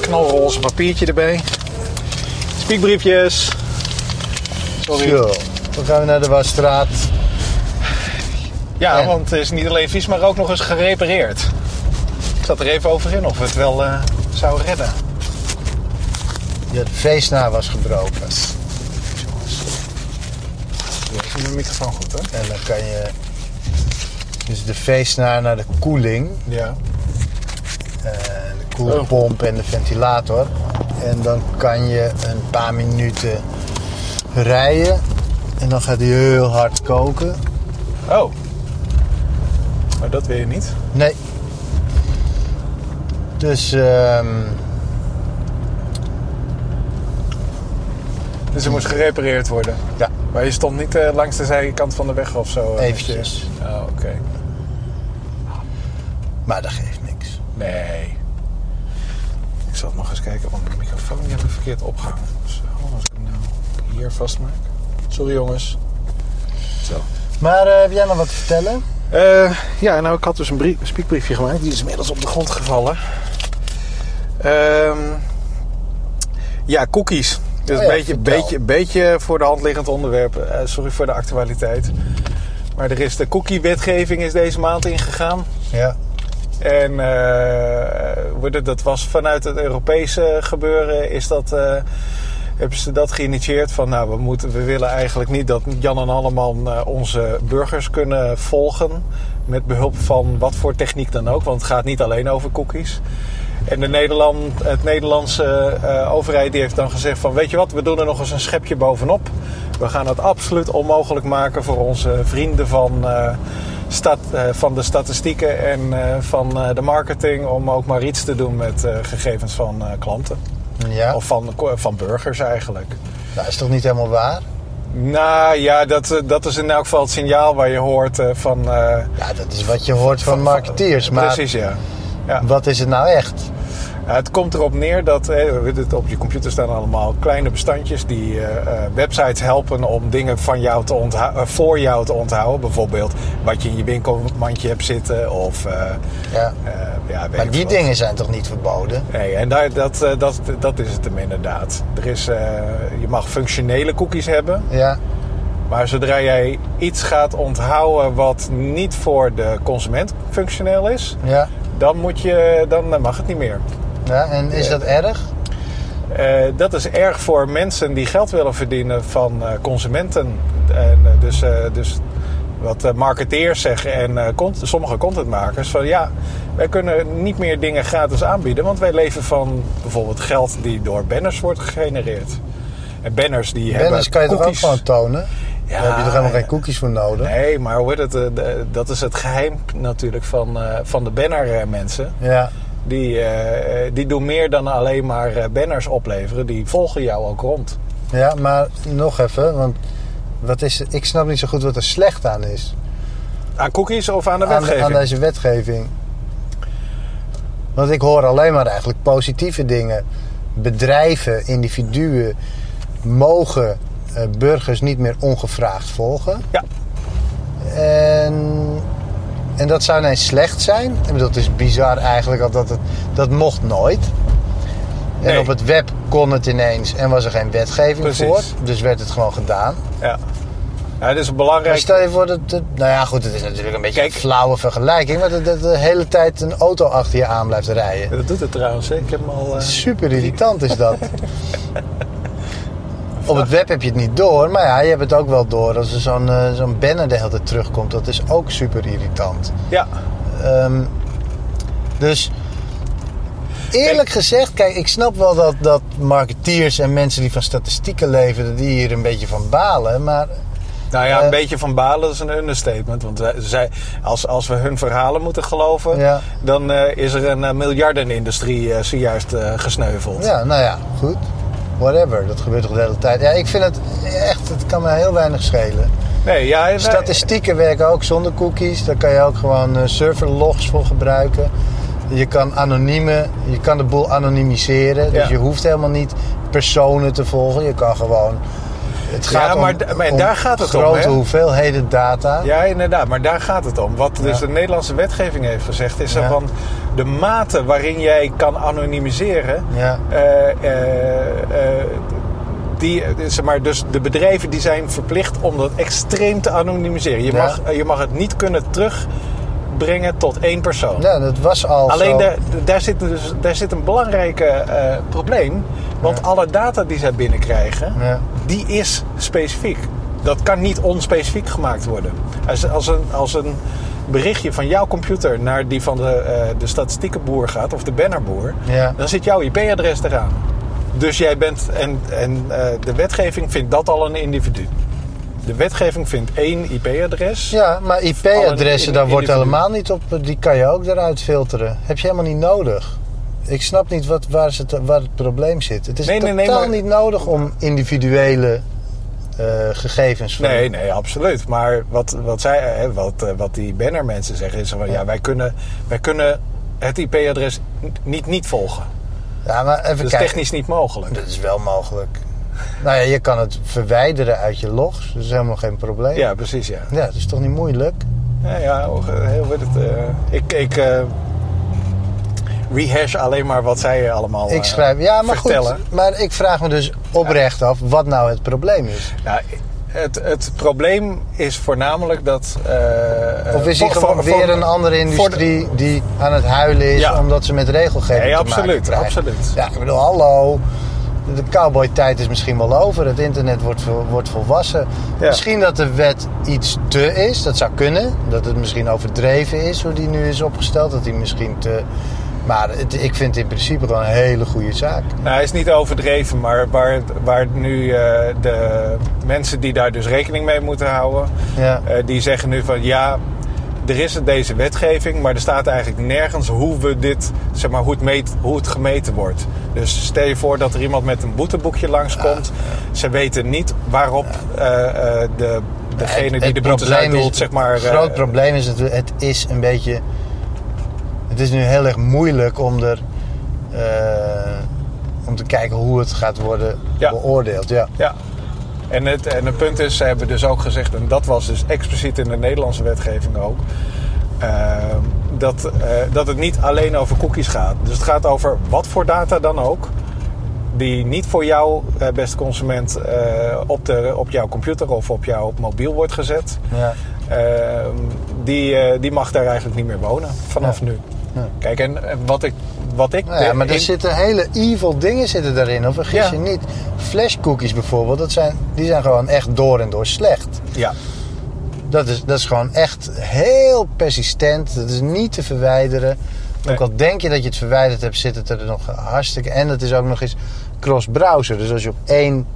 knalroze papiertje erbij. Spiekbriefjes. Sorry. Zo, dan gaan we naar de Wasstraat. Ja, En? want het is niet alleen vies, maar ook nog eens gerepareerd. Ik zat er even over in of we het wel eh zou redden. Het feestnaar was gebroken. Doe Even mijn microfoon goed, hè? En dan kan je... Dus de feestnaar naar de koeling. Ja. eh, de koelpomp en de ventilator. En dan kan je een paar minuten rijden. En dan gaat hij heel hard koken. Oh. Maar dat weet je niet. Nee. Dus ehm, Dus er moest gerepareerd worden. ja, Maar je stond niet eh, langs de zijkant van de weg of zo? eh, Eventjes. met je- Oh, oké. maar dat geeft niks. Nee. Ik zal nog eens kijken, want mijn microfoon die heb ik verkeerd opgehangen. Zo, als ik hem nou hier vastmaak. Sorry jongens. Zo. Maar eh, heb jij nog wat te vertellen? Eh, ja, nou, ik had dus een brie- een spiekbriefje gemaakt. Die is inmiddels op de grond gevallen. Ehm, ja, cookies. Dus Oh een ja, beetje, vertel. beetje, beetje voor de hand liggend onderwerp. Eh, sorry voor de actualiteit. Maar er is de cookie-wetgeving is deze maand ingegaan. Ja. En eh, wordt het- dat was vanuit het Europese gebeuren, is dat, eh, hebben ze dat geïnitieerd van nou, we, moeten, we willen eigenlijk niet dat Jan en Alleman eh, onze burgers kunnen volgen met behulp van wat voor techniek dan ook, want het gaat niet alleen over cookies. En de Nederland, het Nederlandse eh, overheid die heeft dan gezegd van weet je wat, we doen er nog eens een schepje bovenop. We gaan het absoluut onmogelijk maken voor onze vrienden van, eh, stat, eh, van de statistieken en eh, van eh, de marketing om ook maar iets te doen met eh, gegevens van eh, klanten. Ja. Of van, eh, van burgers eigenlijk. Dat is toch niet helemaal waar? Nou ja, dat, eh, dat is in elk geval het signaal waar je hoort eh, van... eh, Ja, dat is wat je hoort van marketeers. Maar Precies, ja. ja. wat is het nou echt? Ja, het komt erop neer dat eh, we weten het, op je computer staan allemaal kleine bestandjes die eh, eh, websites helpen om dingen van jou te ontha- eh, voor jou te onthouden. Bijvoorbeeld wat je in je winkelmandje hebt zitten of. eh, Ja. eh, ja, weet Maar ik die veel. dingen zijn toch niet verboden? Nee, en daar, dat, eh, dat, dat is het hem inderdaad. Er is, eh, je mag functionele cookies hebben. Ja. Maar zodra jij iets gaat onthouden wat niet voor de consument functioneel is, Ja. dan, moet je, dan eh, mag het niet meer. ja. En is dat erg? Eh, dat is erg voor mensen die geld willen verdienen van eh, consumenten. En, eh, dus, eh, dus wat eh, marketeers zeggen en eh, cont- sommige contentmakers: van ja, wij kunnen niet meer dingen gratis aanbieden, want wij leven van bijvoorbeeld geld die door banners wordt gegenereerd. En banners die Banners hebben kan je toch ook cookies. gewoon tonen? Ja, Daar heb je toch helemaal ja. geen cookies voor nodig? Nee, maar hoe heet het, eh, de- dat is het geheim natuurlijk van, eh, van de bannermensen. mensen. Ja. Die, eh, eh, die doen meer dan alleen maar eh, banners opleveren. Die volgen jou ook rond. Ja, maar nog even, want wat is, ik snap niet zo goed wat er slecht aan is. Aan cookies of aan de Aan, wetgeving? aan deze wetgeving. Want ik hoor alleen maar eigenlijk positieve dingen. Bedrijven, individuen mogen eh, burgers niet meer ongevraagd volgen. Ja. En, en dat zou ineens slecht zijn. Ik bedoel, het is bizar eigenlijk al dat het, dat mocht nooit. En Nee. op het web kon het ineens en was er geen wetgeving Precies. voor. Dus werd het gewoon gedaan. Ja. ja, dat is Maar belangrijk. stel je voor dat... het- nou ja, goed, het is natuurlijk een beetje Kijk. een flauwe vergelijking. Maar dat, dat de hele tijd een auto achter je aan blijft rijden. Dat doet het trouwens. hè. Ik heb hem al... eh, Super irritant is dat. Op het web heb je het niet door, maar ja, je hebt het ook wel door als er zo'n eh, zo'n banner de hele tijd terugkomt. Dat is ook super irritant. Ja. Ehm, dus eerlijk gezegd, kijk, ik snap wel dat, dat marketeers en mensen die van statistieken leven, dat die hier een beetje van balen. Maar Nou ja, een Eh. beetje van balen is een understatement. Want wij- zij, als, als we hun verhalen moeten geloven... Ja. dan eh, is er een eh, miljardenindustrie eh, zojuist eh, gesneuveld. ja, nou ja, goed. Whatever, dat gebeurt toch de hele tijd. Ja, ik vind het echt, het kan me heel weinig schelen. Nee, ja, Dus wij- Statistieken werken ook zonder cookies. Daar kan je ook gewoon eh, serverlogs voor gebruiken. Je kan anonieme, je kan de boel anonimiseren. Dus Ja. je hoeft helemaal niet personen te volgen. Je kan gewoon Het Ja, gaat om- maar da- maar om daar gaat het om, grote hè? hoeveelheden data. Ja, inderdaad, maar daar gaat het om. Wat dus Ja. de Nederlandse wetgeving heeft gezegd, is Ja. dat van de mate waarin jij kan anonimiseren, Ja. eh, eh, eh, die, eh, zeg maar, dus de bedrijven die zijn verplicht om dat extreem te anonimiseren. Je, Ja. mag, eh, je mag het niet kunnen terugbrengen tot één persoon. Ja, dat was al Alleen zo. daar- daar, zit dus, daar zit een belangrijk eh, probleem. Want alle data die zij binnenkrijgen, Ja. die is specifiek. Dat kan niet onspecifiek gemaakt worden. Als, als, een, als een berichtje van jouw computer naar die van de, eh, de statistiekenboer gaat, of de bannerboer, Ja. dan zit jouw IP-adres eraan. Dus jij bent, en, en eh, de wetgeving vindt dat al een individu. De wetgeving vindt één IP-adres. Ja, maar IP-adressen, in- daar wordt individu. helemaal niet op. Die kan je ook eruit filteren. Heb je helemaal niet nodig. Ik snap niet wat, waar, ze het, waar het probleem zit. Het is Nee, nee, totaal nee, maar- niet nodig om individuele eh, gegevens van. Nee, nee, absoluut. Maar wat, wat, zij, hè, wat, eh, wat die bannermensen zeggen is van ja, wij kunnen, wij kunnen het IP-adres niet niet volgen. Ja, maar even Dat is kijken. technisch niet mogelijk. Dat is wel mogelijk. Nou ja, je kan het verwijderen uit je logs. Dat is helemaal geen probleem. Ja, precies, ja. Ja, dat is toch niet moeilijk? Ja, ja hoe- heel weet het. eh, ik ik eh, rehash alleen maar wat zij allemaal Ik eh, schrijf. Ja, maar vertellen. goed. Maar ik vraag me dus oprecht af wat nou het probleem is. Nou, het, het probleem is voornamelijk dat... eh, Of is hij voor- gewoon voor- weer voor- een andere voor de- industrie die aan het huilen is Ja. omdat ze met regelgeving Nee, te absoluut, maken krijgen? absoluut. Ja, ik bedoel, hallo. De cowboy-tijd is misschien wel over. Het internet wordt, vol- wordt volwassen. Ja. Misschien dat de wet iets te is. Dat zou kunnen. Dat het misschien overdreven is hoe die nu is opgesteld. Dat die misschien te... Maar het- ik vind het in principe gewoon een hele goede zaak. Nou, hij is niet overdreven, maar waar, waar nu eh, de mensen die daar dus rekening mee moeten houden, Ja. eh, die zeggen nu van ja, er is deze wetgeving, maar er staat eigenlijk nergens hoe we dit, zeg maar, hoe het, meet, hoe het gemeten wordt. Dus stel je voor dat er iemand met een boeteboekje langskomt. Ze weten niet waarop eh, eh, de, degene die Het de boetes probleem uitdoelt, is- zeg maar... Het eh, groot probleem is natuurlijk, het is een beetje... Het is nu heel erg moeilijk om er... eh, om te kijken hoe het gaat worden Ja. beoordeeld. Ja. Ja. En het, en het punt is, ze hebben dus ook gezegd, en dat was dus expliciet in de Nederlandse wetgeving ook, ehm, dat, eh, dat het niet alleen over cookies gaat. Dus het gaat over wat voor data dan ook, die niet voor jou, eh, beste consument, eh, op, de, op jouw computer of op jouw mobiel wordt gezet. Ja. Ehm, die, eh, die mag daar eigenlijk niet meer wonen vanaf Ja. nu. Ja. Kijk, en en wat ik. Wat ik Nou ja, maar er in- zitten hele evil dingen zitten daarin. Of vergis Ja. je niet. Flashcookies bijvoorbeeld, dat zijn, die zijn gewoon echt door en door slecht. Ja, Dat is, dat is gewoon echt heel persistent. Dat is niet te verwijderen. Nee. Ook al denk je dat je het verwijderd hebt, zit het er nog hartstikke. En dat is ook nog eens cross-browser. Dus als je op één,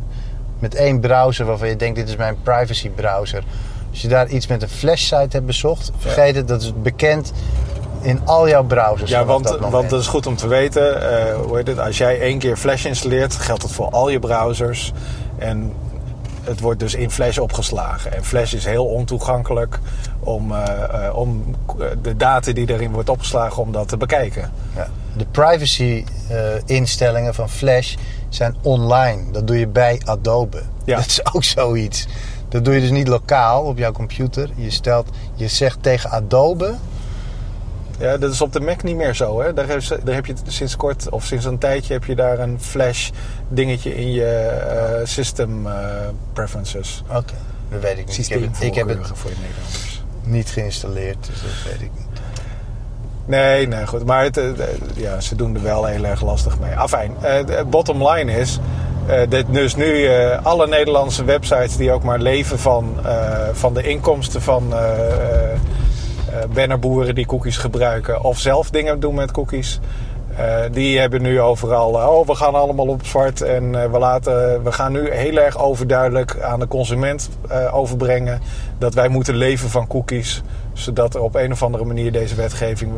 met één browser waarvan je denkt: dit is mijn privacy browser. Als je daar iets met een flash site hebt bezocht, vergeet het, dat is bekend in al jouw browsers. Ja, vanaf want, dat dat moment. want dat is goed om te weten. eh, hoe heet het? Als jij één keer Flash installeert, geldt dat voor al je browsers. En het wordt dus in Flash opgeslagen. En Flash is heel ontoegankelijk om, eh, eh, om eh, de data die erin wordt opgeslagen, om dat te bekijken. Ja. De privacy-instellingen van Flash zijn online. Dat doe je bij Adobe. Ja. Dat is ook zoiets. Dat doe je dus niet lokaal op jouw computer. Je, stelt, je zegt tegen Adobe. Ja, dat is op de Mac niet meer zo. Hè? Daar, heb je, daar heb je sinds kort of sinds een tijdje heb je daar een Flash dingetje in je eh, system eh, preferences. Oké, dat weet ik niet. Ik heb, het, ik heb Systeemvoorkeuren het voor je Nederlanders. niet geïnstalleerd, dus dat weet ik niet. Nee, nee, goed. Maar het, eh, eh, ja, ze doen er wel heel erg lastig mee. Afijn, eh, de bottom line is... eh dat dus nu eh, alle Nederlandse websites die ook maar leven van, eh, van de inkomsten van eh, eh, eh, bannerboeren die cookies gebruiken... of zelf dingen doen met cookies... eh, die hebben nu overal, eh, oh we gaan allemaal op zwart en eh, we, laten, we gaan nu heel erg overduidelijk aan de consument eh, overbrengen dat wij moeten leven van cookies zodat er op een of andere manier deze wetgeving,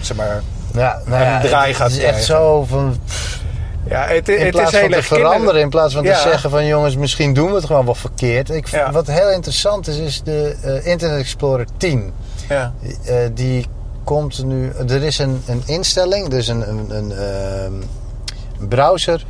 zeg maar... Ja, nou Een ja, draai het, gaat het is echt krijgen. zo van... Ja, het, In het plaats is heel van te erg veranderen, in plaats van te Ja. zeggen van jongens, misschien doen we het gewoon wel verkeerd. Ik, Ja. Wat heel interessant is, is de eh, Internet Explorer 10. Ja. Eh, die komt nu. Er is een, een instelling, dus een, een, een ehm, browser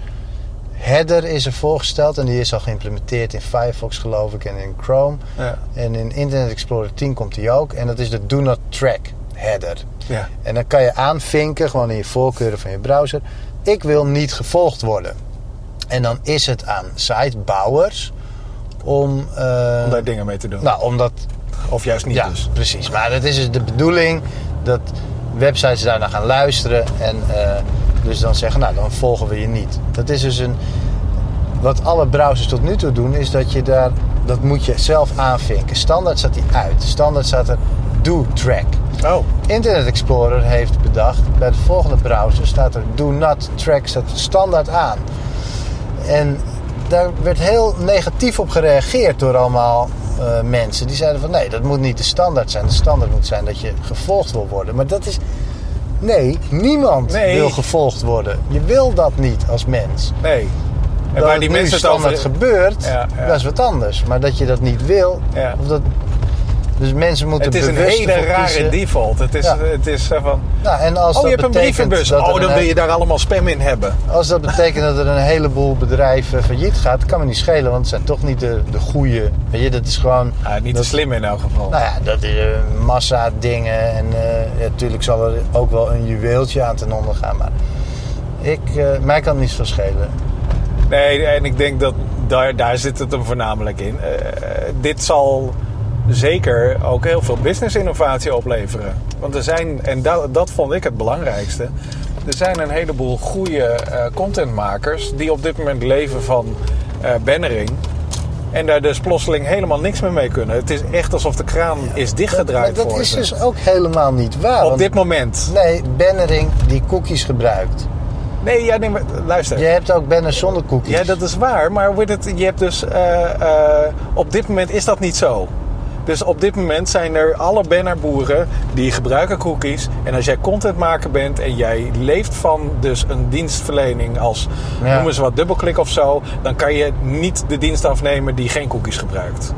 header is er voorgesteld en die is al geïmplementeerd in Firefox geloof ik en in Chrome. Ja. En in Internet Explorer 10 komt die ook. En dat is de Do Not Track header. Ja. En dan kan je aanvinken, gewoon in je voorkeuren van je browser. Ik wil niet gevolgd worden. En dan is het aan sitebouwers om... eh, Om daar dingen mee te doen. nou, om dat of juist niet ja, dus. precies. Maar dat is dus de bedoeling dat websites daarna gaan luisteren en eh, dus dan zeggen, nou dan volgen we je niet. Dat is dus een. Wat alle browsers tot nu toe doen, is dat je daar. Dat moet je zelf aanvinken. Standaard staat die uit. Standaard staat er do track. Oh, Internet Explorer heeft bedacht, bij de volgende browser staat er do not track staat standaard aan. En daar werd heel negatief op gereageerd door allemaal eh, mensen. Die zeiden van nee, dat moet niet de standaard zijn. De standaard moet zijn dat je gevolgd wil worden. Maar dat is. Nee, niemand Nee. wil gevolgd worden. Je wil dat niet als mens. nee. En Dat waar die het Nou, nu mensen het standaard over... gebeurt, Ja, ja. dat is wat anders. Maar dat je dat niet wil, Ja. of dat... dus mensen moeten Het is een bewust hele ervoor rare kiezen. default. Het is, Ja. het is eh, van... Nou, en als Oh, je dat hebt een betekent brievenbus. dat er Oh, dan een wil je daar allemaal spam in hebben. Als dat betekent dat er een heleboel bedrijven failliet gaat, kan me niet schelen, want het zijn toch niet de, de goede. Weet je, dat is gewoon. Ah, niet te slim in elk geval. Nou ja, dat is eh, massa dingen en eh, ja, natuurlijk zal er ook wel een juweeltje aan ten onder gaan, maar ik, eh, mij kan het niets van schelen. Nee, en ik denk dat daar, daar zit het hem voornamelijk in. Eh, dit zal zeker ook heel veel business innovatie opleveren. Want er zijn, en da- dat vond ik het belangrijkste... er zijn een heleboel goede eh, contentmakers... die op dit moment leven van eh, bannering... En daar dus plotseling helemaal niks meer mee kunnen. Het is echt alsof de kraan is dichtgedraaid Maar dat voor is ze. dus ook helemaal niet waar. Op want- dit moment. Nee, bannering die cookies gebruikt. Nee, ja, nee, maar luister. Je hebt ook banners zonder cookies. Ja, dat is waar. Maar wordt het, je hebt dus... eh, eh, op dit moment is dat niet zo. Dus op dit moment zijn er alle bannerboeren die gebruiken cookies. En als jij contentmaker bent en jij leeft van dus een dienstverlening als Ja. noem eens wat dubbelklik of zo, dan kan je niet de dienst afnemen die geen cookies gebruikt.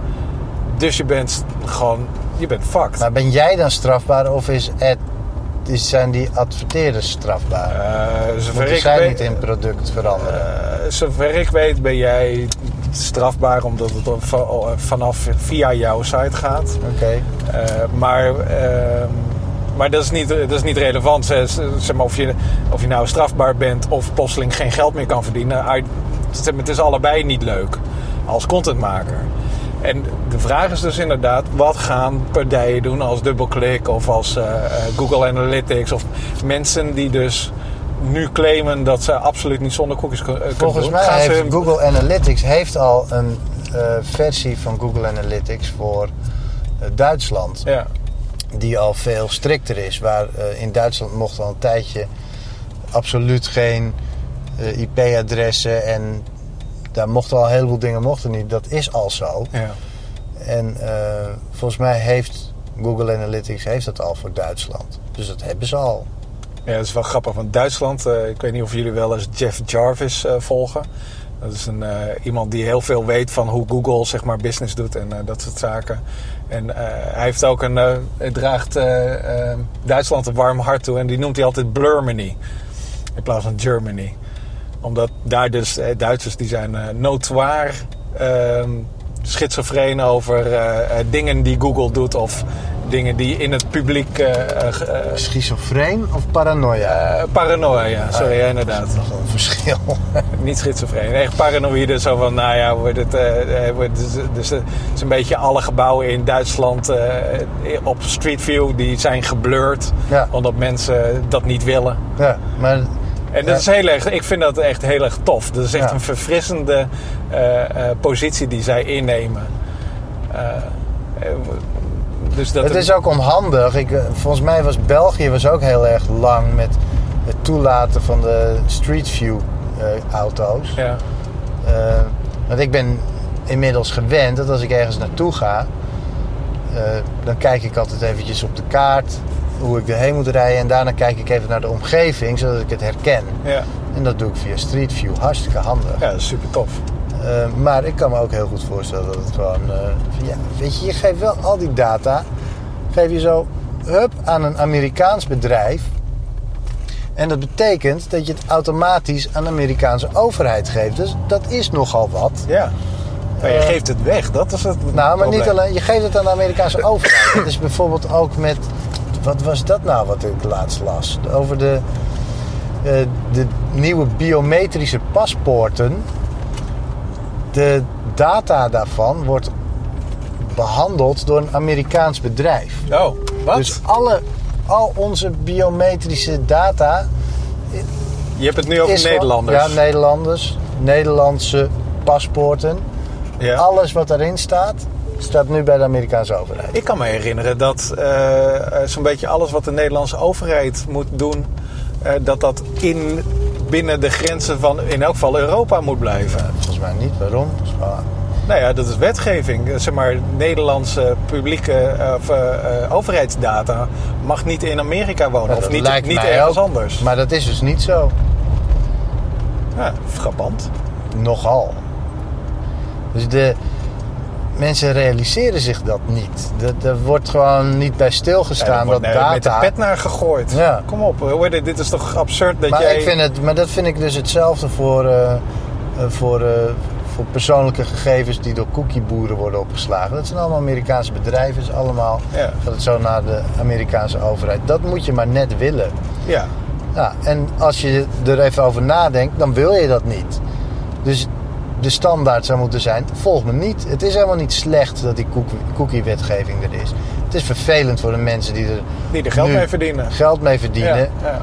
Dus je bent gewoon, je bent fucked. Maar ben jij dan strafbaar of is het, is, zijn die adverteerders strafbaar? Eh, zover Moeten ik zij weet- niet in product veranderen? Eh, zover ik weet ben jij strafbaar omdat het va- vanaf via jouw site gaat. Oké. Eh, maar ehm, maar dat, is niet, dat is niet relevant. Zeg, zeg maar of, je, of je nou strafbaar bent of plotseling geen geld meer kan verdienen. I- zeg maar, het is allebei niet leuk als contentmaker. En de vraag is dus inderdaad, wat gaan partijen doen als DoubleClick of als eh, eh, Google Analytics of mensen die dus nu claimen dat ze absoluut niet zonder cookies kun- eh, kunnen Volgens doen. mij Gaan ze heeft hun- Google Analytics heeft al een eh, versie van Google Analytics voor eh, Duitsland. Ja, Die al veel strikter is. Waar eh, in Duitsland mocht al een tijdje absoluut geen eh, IP-adressen. En daar mochten al een heleboel dingen mochten niet. Dat is al zo. ja. En eh, volgens mij heeft Google Analytics heeft dat al voor Duitsland. Dus dat hebben ze al. Ja, dat is wel grappig, want Duitsland, eh, ik weet niet of jullie wel eens Jeff Jarvis eh, volgen. Dat is een, eh, iemand die heel veel weet van hoe Google zeg maar, business doet en eh, dat soort zaken. En eh, hij heeft ook een, eh, hij draagt eh, eh, Duitsland een warm hart toe en die noemt hij altijd Blurmany in plaats van Germany. Omdat daar dus, eh, Duitsers die zijn eh notoir ehm, schizofreen over eh, eh, dingen die Google doet of dingen die in het publiek eh, eh, ge- eh, Schizofreen of paranoia? eh, paranoia, ja. sorry, ja, inderdaad. Gewoon een verschil. Niet schizofreen. Echt paranoïde. Zo van, nou ja, wordt het, eh, eh, wordt het- dus, eh, het is een beetje alle gebouwen in Duitsland eh, op Street View die zijn geblurred. Ja. Omdat mensen dat niet willen. ja, maar En dat Ja. is heel erg, ik vind dat echt heel erg tof. Dat is echt Ja. een verfrissende eh, eh, positie die zij innemen. Eh, eh, dus dat het is ook onhandig. Ik, eh, volgens mij was België was ook heel erg lang met het toelaten van de Street View eh, auto's. Ja, Eh, want ik ben inmiddels gewend dat als ik ergens naartoe ga, eh, dan kijk ik altijd eventjes op de kaart hoe ik erheen moet rijden. En daarna kijk ik even naar de omgeving, zodat ik het herken. ja. En dat doe ik via Street View. Hartstikke handig. ja, dat is super tof. Eh, maar ik kan me ook heel goed voorstellen dat het gewoon... eh, van, ja, weet je, je geeft wel al die data... geef je zo hup, aan een Amerikaans bedrijf... En dat betekent dat je het automatisch aan de Amerikaanse overheid geeft. Dus dat is nogal wat. Ja. Maar je Eh, geeft het weg, dat is het. Nou, maar niet probleem. alleen. Je geeft het aan de Amerikaanse overheid. Dat is bijvoorbeeld ook met. Wat was dat nou wat ik laatst las? Over de, eh, de nieuwe biometrische paspoorten. De data daarvan wordt behandeld door een Amerikaans bedrijf. Oh, wat? Dus alle, al onze biometrische data je hebt het nu over is van- Nederlanders. Ja, Nederlanders. Nederlandse paspoorten. Ja. Alles wat daarin staat, staat nu bij de Amerikaanse overheid. Ik kan me herinneren dat eh, eh, zo'n beetje alles wat de Nederlandse overheid moet doen, eh, dat dat in, binnen de grenzen van in elk geval Europa moet blijven. Eh, Volgens mij niet. Waarom? Dat is wel- Nou ja, dat is wetgeving. Eh, Zeg maar, Nederlandse publieke eh, of, eh, eh, overheidsdata mag niet in Amerika wonen. dat of niet, lijkt niet mij ergens ook. anders. Maar dat is dus niet zo. Ja, frappant. Nogal. Dus de mensen realiseren zich dat niet. Dat- Er wordt gewoon niet bij Ja, stilgestaan daar wordt dat nou met data. de pet naar gegooid. Ja. Kom op, hoor, dit- dit is toch absurd dat maar, jij... ik vind het, maar dat vind ik dus hetzelfde voor, eh, eh, voor, eh, voor persoonlijke gegevens die door cookieboeren worden opgeslagen. Dat zijn allemaal Amerikaanse bedrijven, is allemaal Ja. gaat het zo naar de Amerikaanse overheid. Dat moet je maar net willen. Ja, Ja, en als je er even over nadenkt, dan wil je dat niet. Dus de standaard zou moeten zijn: volg me niet. Het is helemaal niet slecht dat die cookie- cookie-wetgeving er is. Het is vervelend voor de mensen die er die er geld nu mee verdienen. geld mee verdienen. Ja, ja.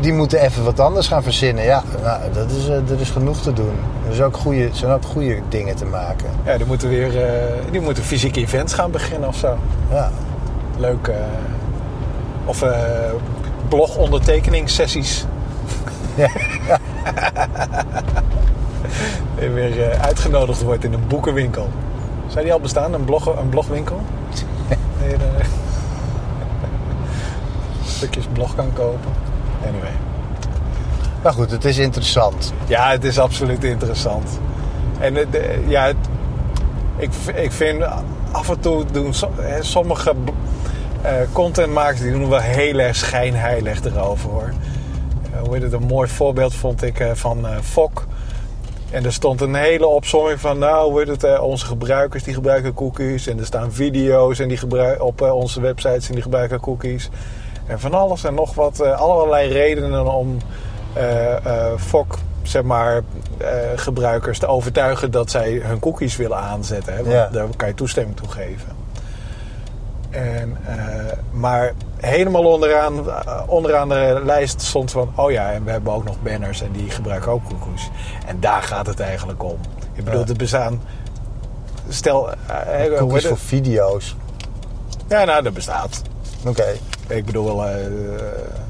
Die moeten even wat anders gaan verzinnen. Ja, nou, dat is, eh, er is genoeg te doen. Er is ook goede, er zijn ook goede dingen te maken. Ja, die moeten weer eh, die moeten fysieke events gaan beginnen of zo. Ja, Leuk. eh, of eh blogondertekeningssessies. Ja. En weer eh, uitgenodigd wordt in een boekenwinkel. Zou die al bestaan, een, blog, een blogwinkel? Nee, daar- Stukjes blog kan kopen. Anyway. maar goed, het is interessant. Ja, het is absoluut interessant. En eh, de- ja, het- ik, v- ik vind af en toe doen so- hè, sommige b- eh, contentmakers die doen wel heel erg schijnheilig erover hoor. Eh, Hoe heet het? Een mooi voorbeeld vond ik eh, van eh Fok. En er stond een hele opsomming van, nou, hoe heet het, eh, onze gebruikers die gebruiken cookies. En er staan video's en die gebruik, op eh, onze websites en die gebruiken cookies. En van alles en nog wat, eh, allerlei redenen om eh eh, FOC, zeg maar, eh, gebruikers te overtuigen dat zij hun cookies willen aanzetten. Hè? Want Ja. daar kan je toestemming toe geven. En, eh, maar helemaal onderaan, eh, onderaan de lijst stond van... oh ja, en we hebben ook nog banners en die gebruiken ook koekoes. En daar gaat het eigenlijk om. Ik bedoel, Ja. er bestaan... Stel... eh, eh, hoe heet Cookies voor het? video's. Ja, nou, dat bestaat. Oké. Ik bedoel... eh,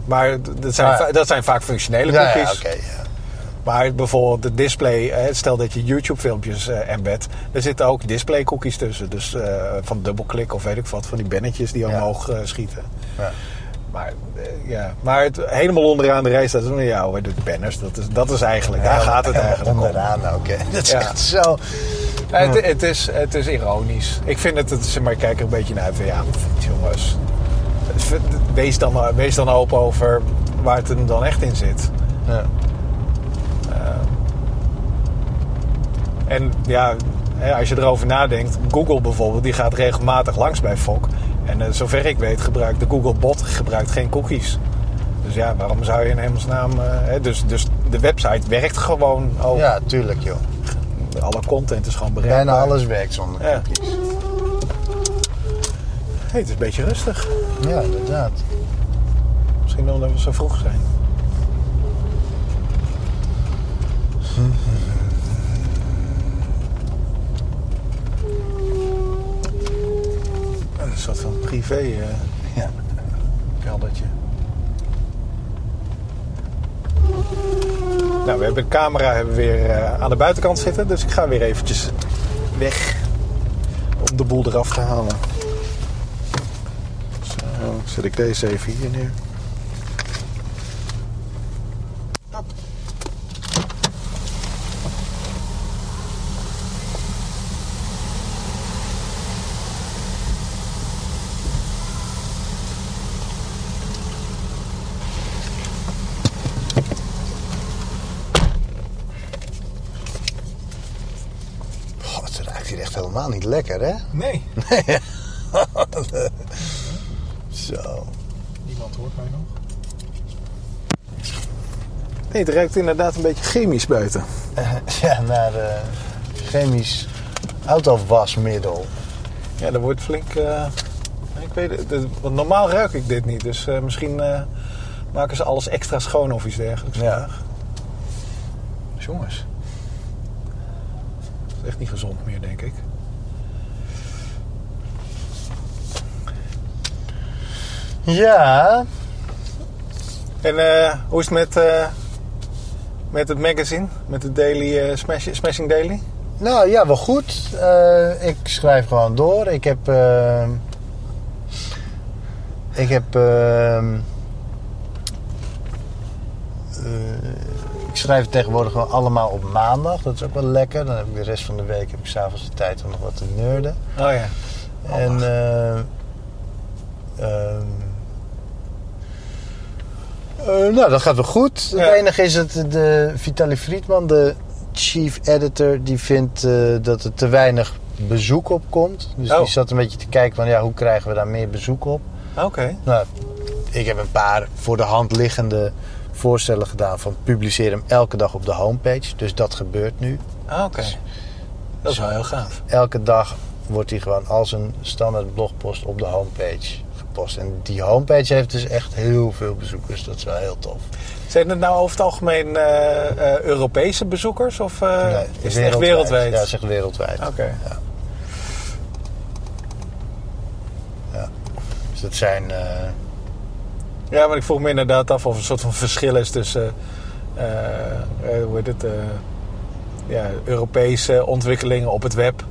maar dat zijn, Ah, ja. va- dat zijn vaak functionele Ja, cookies. ja, oké, ja. Maar bijvoorbeeld de display... eh, stel dat je YouTube-filmpjes eh embedt... er zitten ook display-cookies tussen. Dus eh, van dubbelklik of weet ik wat. Van die bannetjes die Ja. omhoog eh, schieten. Ja. Maar, eh, ja. maar het, helemaal onderaan de rij staat van ja, hoor, de banners, dat is, dat is eigenlijk, daar gaat het Ja, eigenlijk om. Onderaan ook, hè. Dat is Ja. echt zo... Eh, Het, het, is, het is ironisch. Ik vind het, het zeg maar, ik kijk er een beetje naar uit van ja, jongens, wees dan, wees dan open over waar het hem dan echt in zit. Eh, Ja. En ja, hè, als je erover nadenkt, Google bijvoorbeeld, die gaat regelmatig langs bij Fok. En eh, zover ik weet, gebruikt de Google bot gebruikt geen cookies. Dus ja, waarom zou je in hemelsnaam... eh, hè, dus, dus de website werkt gewoon ook. Oh. ja, tuurlijk, joh. Alle content is gewoon bereikbaar. Bijna alles werkt zonder Ja. cookies. Hey, het is een beetje rustig. Ja, inderdaad. Misschien omdat we zo vroeg zijn. Een soort van privé eh Ja. keldertje. Nou, we hebben de camera hebben we weer eh, aan de buitenkant zitten, dus ik ga weer eventjes weg om de boel eraf te halen. Zo, zet ik deze even hier neer. hier echt helemaal niet lekker, hè? Nee, Zo. niemand hoort mij nog. Nee, het ruikt inderdaad een beetje chemisch buiten. ja, naar eh, chemisch autowasmiddel. Ja, er wordt flink. eh, ik weet het, het- want normaal ruik ik dit niet. Dus eh, misschien eh, maken ze alles extra schoon of iets dergelijks. Ja. vandaag. Dus jongens. Dat is echt niet gezond meer, denk ik. Ja, En eh, hoe is het met, eh, met het magazine? Met de daily, eh, smash, Smashing Daily? nou ja, wel goed. Eh, ik schrijf gewoon door. Ik heb... eh, ik heb... eh, eh, eh, ik schrijf tegenwoordig gewoon allemaal op maandag. Dat is ook wel lekker. Dan heb ik de rest van de week... heb ik s'avonds de tijd om nog wat te nerden. Oh ja. En eh, ehm, eh, nou, dat gaat wel goed. Ja. Het enige is dat de Vitali Friedman, de chief editor, die vindt eh, dat er te weinig bezoek op komt. Dus Oh. die zat een beetje te kijken van ja, hoe krijgen we daar meer bezoek op? Ah, Oké. Nou, ik heb een paar voor de hand liggende voorstellen gedaan van publiceer hem elke dag op de homepage. Dus dat gebeurt nu. Ah, Oké. Dat is wel heel gaaf. elke dag wordt die gewoon als een standaard blogpost op de homepage gepost. En die homepage heeft dus echt heel veel bezoekers. Dat is wel heel tof. Zijn het nou over het algemeen eh, eh, Europese bezoekers? Of eh, Nee, is het echt wereldwijd? Ja, het is echt wereldwijd. Oké. Dus dat zijn... eh, Ja, maar ik vroeg me inderdaad af of er een soort van verschil is tussen. eh, eh, hoe heet het? eh, ja, Europese ontwikkelingen op het web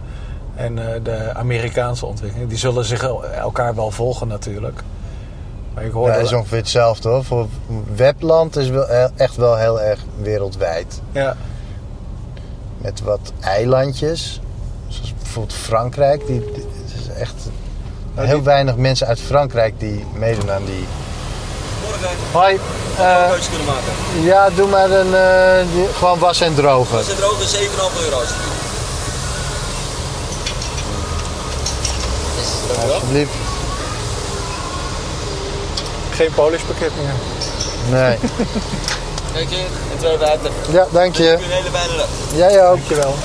en eh, de Amerikaanse ontwikkelingen. Die zullen zich el- elkaar wel volgen, natuurlijk. Maar ik hoorde. nou, dat is ongeveer hetzelfde hoor. Voor webland is wel, e- echt wel heel erg wereldwijd. ja, Met wat eilandjes. Zoals bijvoorbeeld Frankrijk. Die, die- het is echt Nou, heel die- weinig mensen uit Frankrijk die meedoen aan die... Hoi. eh, keuzes kunnen maken. Ja, doe maar een eh, die- gewoon was en drogen. Als het droog is, 7,5 euro. Alsjeblieft. geen Polish pakket meer. Nee. Kijk je, en twee water. Ja, dank Heb je. je een hele fijne dag. Jij ook. Dankjewel.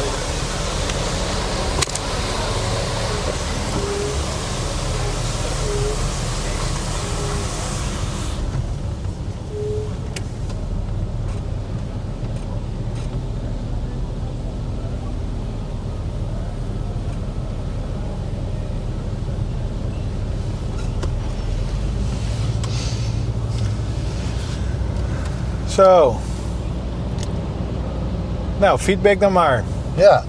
Zo. Nou, feedback dan maar. Ja,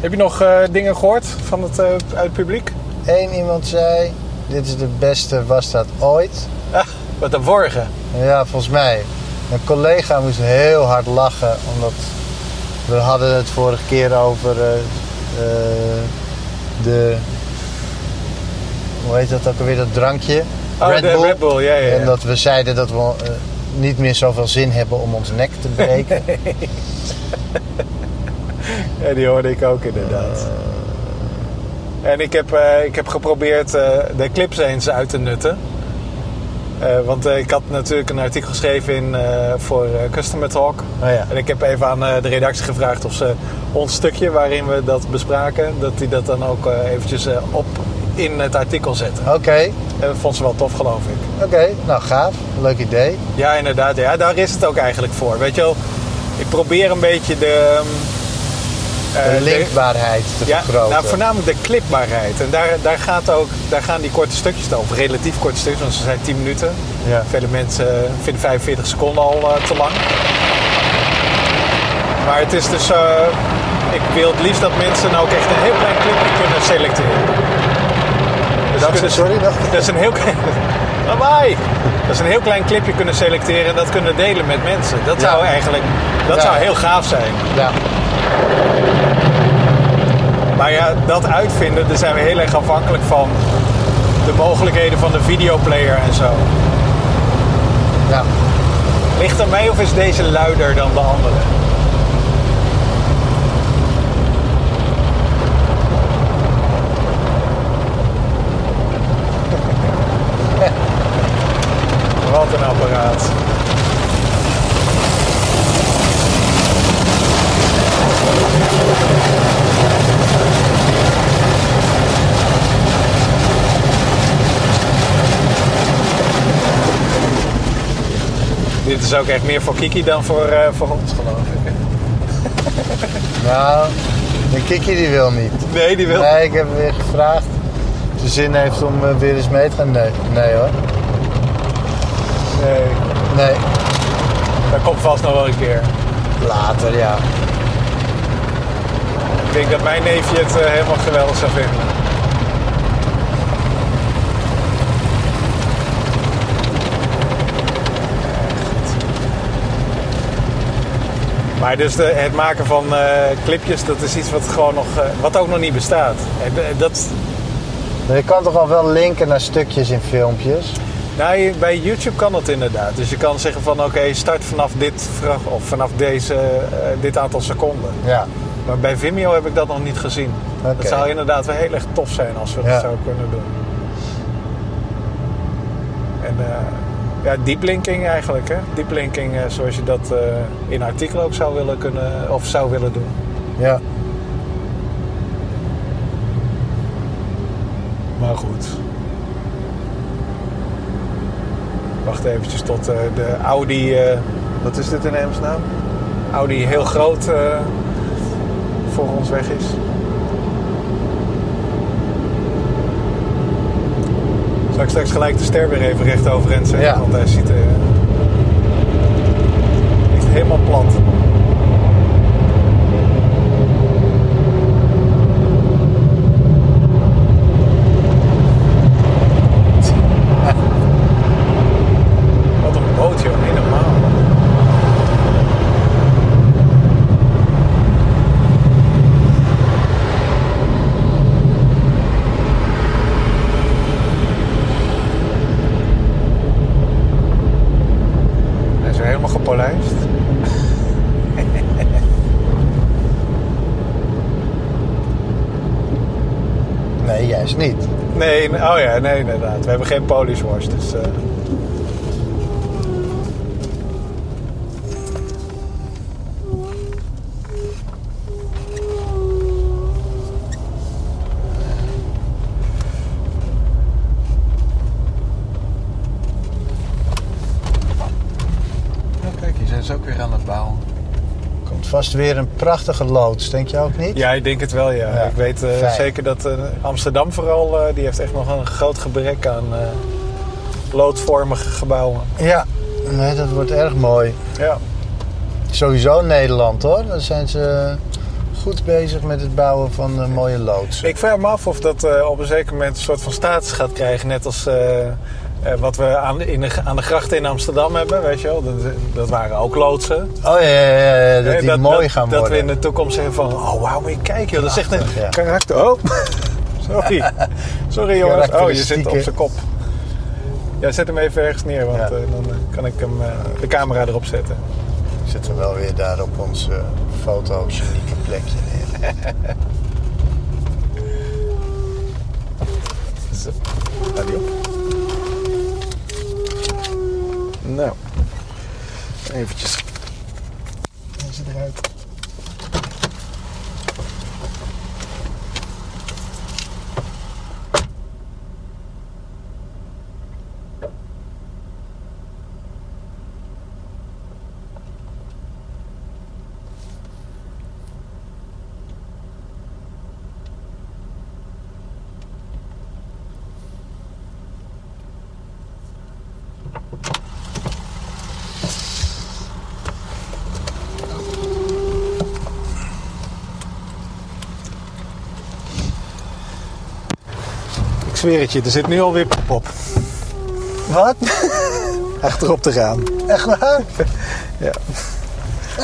Heb je nog eh, dingen gehoord van het, eh, uit het publiek? één iemand zei, dit is de beste wasstraat ooit. Ah, wat de vorige. Ja, volgens mij. Een collega moest heel hard lachen, omdat we hadden het vorige keer over eh, eh, de... Hoe heet dat ook alweer, dat drankje? Oh, de Red Bull, ja, ja. ja. En dat we zeiden dat we eh, niet meer zoveel zin hebben om ons nek te breken. Ja, die hoorde ik ook inderdaad. En ik heb, eh, ik heb geprobeerd eh, de clips eens uit te nutten. Eh, want eh, ik had natuurlijk een artikel geschreven in, eh, voor eh, Customer Talk. Oh ja. En ik heb even aan eh, de redactie gevraagd of ze ons stukje waarin we dat bespraken, dat die dat dan ook eh, eventjes eh, op in het artikel zetten. Oké, En dat vond ze wel tof, geloof ik. oké. Nou, gaaf. Leuk idee. Ja, inderdaad. Ja, daar is het ook eigenlijk voor. Weet je wel, ik probeer een beetje de... ehm, De eh, linkbaarheid te ja, vergroten. nou, voornamelijk de clipbaarheid. En daar, daar, gaat ook, daar gaan die korte stukjes dan, of relatief korte stukjes, want ze zijn 10 minuten. Ja. Vele mensen eh, vinden 45 seconden al eh, te lang. Maar het is dus, eh, ik wil het liefst dat mensen ook echt een heel klein clipje kunnen selecteren. Dus Dat ze kunnen- is- sorry, dat- dat is een heel klein. Lawaai! Dat is een heel klein clipje kunnen selecteren en dat kunnen delen met mensen. Dat Ja. zou eigenlijk, dat Ja. zou heel gaaf zijn. Ja, Maar Nou ja, dat uitvinden, daar zijn we heel erg afhankelijk van. De mogelijkheden van de videoplayer en zo. ja. Ligt er mee of is deze luider dan de andere? rekenapparaat. Dit is ook echt meer voor Kiki dan voor, eh, voor ons, geloof ik. Nou, de Kiki die wil niet. Nee, die wil. Nee, ik heb hem weer gevraagd of ze zin heeft om eh, weer eens mee te gaan. Nee, nee hoor. Nee, Nee, dat komt vast nog wel een keer. later ja. Ik denk dat mijn neefje het eh, helemaal geweldig zou vinden. Echt. Maar dus de, het maken van eh, clipjes, dat is iets wat gewoon nog, eh, wat ook nog niet bestaat. Eh, d- Dat, Maar je kan toch al wel linken naar stukjes in filmpjes? nou, je- bij YouTube kan dat inderdaad. Dus je kan zeggen van oké, start vanaf dit vraag of vanaf deze, eh, dit aantal seconden. Ja. Maar bij Vimeo heb ik dat nog niet gezien. Oké. Dat zou inderdaad wel heel erg tof zijn als we Ja. dat zouden kunnen doen. En eh, ja, deeplinking eigenlijk, hè? Deeplinking eh, zoals je dat eh, in artikelen ook zou willen kunnen of zou willen doen. Ja. Maar goed. Wacht eventjes tot eh, de Audi. eh, wat is dit in hemelsnaam? Audi heel groot eh, voor ons weg is. Zal ik straks gelijk de ster weer even recht overeind zetten? Ja. Want hij ziet eh, er ligt helemaal plat. Wat een boot, joh. Niet normaal. Hij is weer helemaal gepolijst. Nee, juist niet. Nee, nee, oh ja, nee, inderdaad. We hebben geen polish wash, dus... eh. Oh, kijk, hier zijn ze ook weer aan het bouwen. Komt vast weer een prachtige loods, denk je ook niet? Ja, ik denk het wel, ja. Ja, Ik weet eh, fijn. zeker dat eh, Amsterdam vooral... eh, die heeft echt nog een groot gebrek aan eh, loodvormige gebouwen. Ja. Nee, dat wordt erg mooi. Ja. Sowieso Nederland hoor. Dan zijn ze goed bezig met het bouwen van eh, mooie loodsen. Ik vraag me af of dat eh, op een zeker moment een soort van status gaat krijgen. Net als eh, eh, wat we aan, in de, aan de grachten in Amsterdam hebben, weet je wel. Dat, dat waren ook loodsen. Oh ja, ja, ja, ja, dat Eh, die mooi gaan dat worden. we in de toekomst zeggen van... Oh, wauw, moet je kijken, joh. Dat is echt een Prachtig, ja. karakter. Oh, sorry. Sorry, jongens. Oh, je zit op Karakteristieke. zijn kop. Ja, zet hem even ergens neer, want Ja. eh, dan eh, kan ik hem, eh, de camera erop zetten. Zitten we wel weer daar op ons eh, foto's unieke plekje neer. Zo, gaat die op. Nou, eventjes. Deze eruit. Ik zweer het je, er zit nu alweer pop op. Wat? Achterop te gaan. Echt waar? Ja.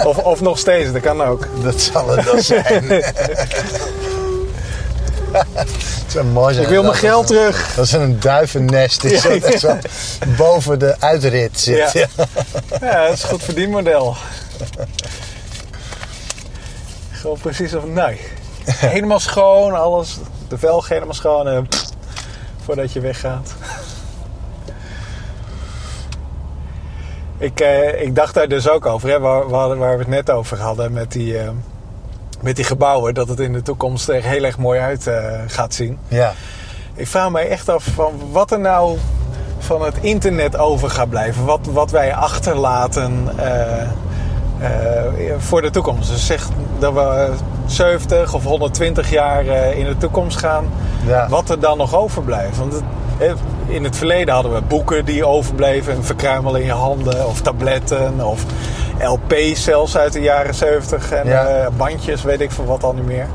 Of, of nog steeds, dat kan ook. Dat zal het dan zijn. Het zou mooi zijn Ik wil dat mijn geld het een- terug. Dat is een duivennest. Is Ja, dat het zo boven de uitrit zit. Ja. Ja, dat is een goed verdienmodel. Gewoon precies of nee. Helemaal schoon, alles. De velg helemaal schoon. En voordat je weggaat. Ik, eh, ik dacht daar dus ook over, hè, waar, waar, waar we het net over hadden met die, eh, met die gebouwen. Dat het in de toekomst er heel erg mooi uit eh, gaat zien. Ja. Ik vraag mij echt af van wat er nou van het internet over gaat blijven. Wat, wat wij achterlaten eh, eh, voor de toekomst. Dus zeg dat we 70 of 120 jaar eh, in de toekomst gaan. Ja. Wat er dan nog overblijft. Want het- eh, in het verleden hadden we boeken die overbleven. Een verkruimel in je handen. Of tabletten. Of LP's zelfs uit de jaren 70. En Ja. eh, bandjes, weet ik veel wat al niet meer.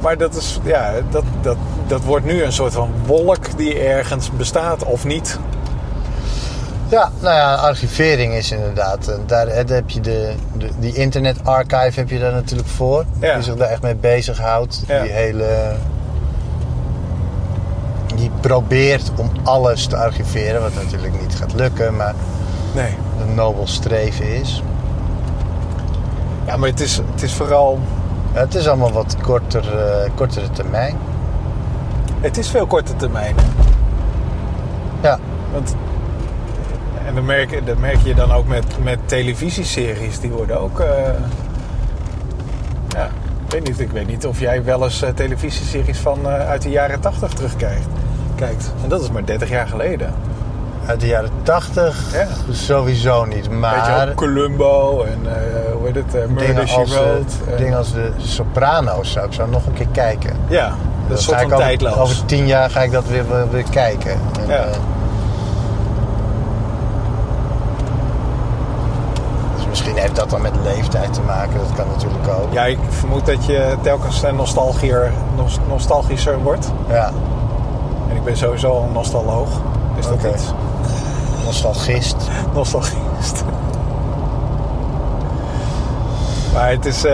Maar dat, is, ja, dat, dat, dat wordt nu een soort van wolk die ergens bestaat of niet. Ja, nou ja, archivering is inderdaad. eh, Daar eh, daar heb je de, de die internet archive heb je daar natuurlijk voor. Ja. Die zich daar echt mee bezighoudt. Ja. Die hele. Die probeert om alles te archiveren, wat natuurlijk niet gaat lukken, maar Nee. een nobel streven is. Ja, maar het is, het is vooral... Ja, het is allemaal wat korter, eh, kortere termijn. Het is veel korte termijn. Ja, Want, en dat merk, dat merk je dan ook met, met televisieseries. Die worden ook... eh, ja, ik weet niet. Ik weet niet of jij wel eens eh, televisieseries van eh, uit de jaren 80 terugkijkt. Kijkt. En dat is maar 30 jaar geleden. uit de jaren 80 Ja. sowieso niet. Weet je Maar wel, Columbo en eh, hoe heet het? eh, Murder, dingen She als, de, Wrote. en- dingen als de Soprano's zou ik zo nog een keer kijken. Ja, dat is een soort ga van ik over, tijdloos. Over tien jaar ga ik dat weer, weer, weer kijken. En, Ja. eh, dus misschien heeft dat dan met leeftijd te maken. Dat kan natuurlijk ook. Ja, ik vermoed dat je telkens een nostalgier, nos- nostalgischer wordt. Ja, En ik ben sowieso al een nostalgoog. Is dat Oké. iets? nostalgist. Nostalgist. Maar het is... eh,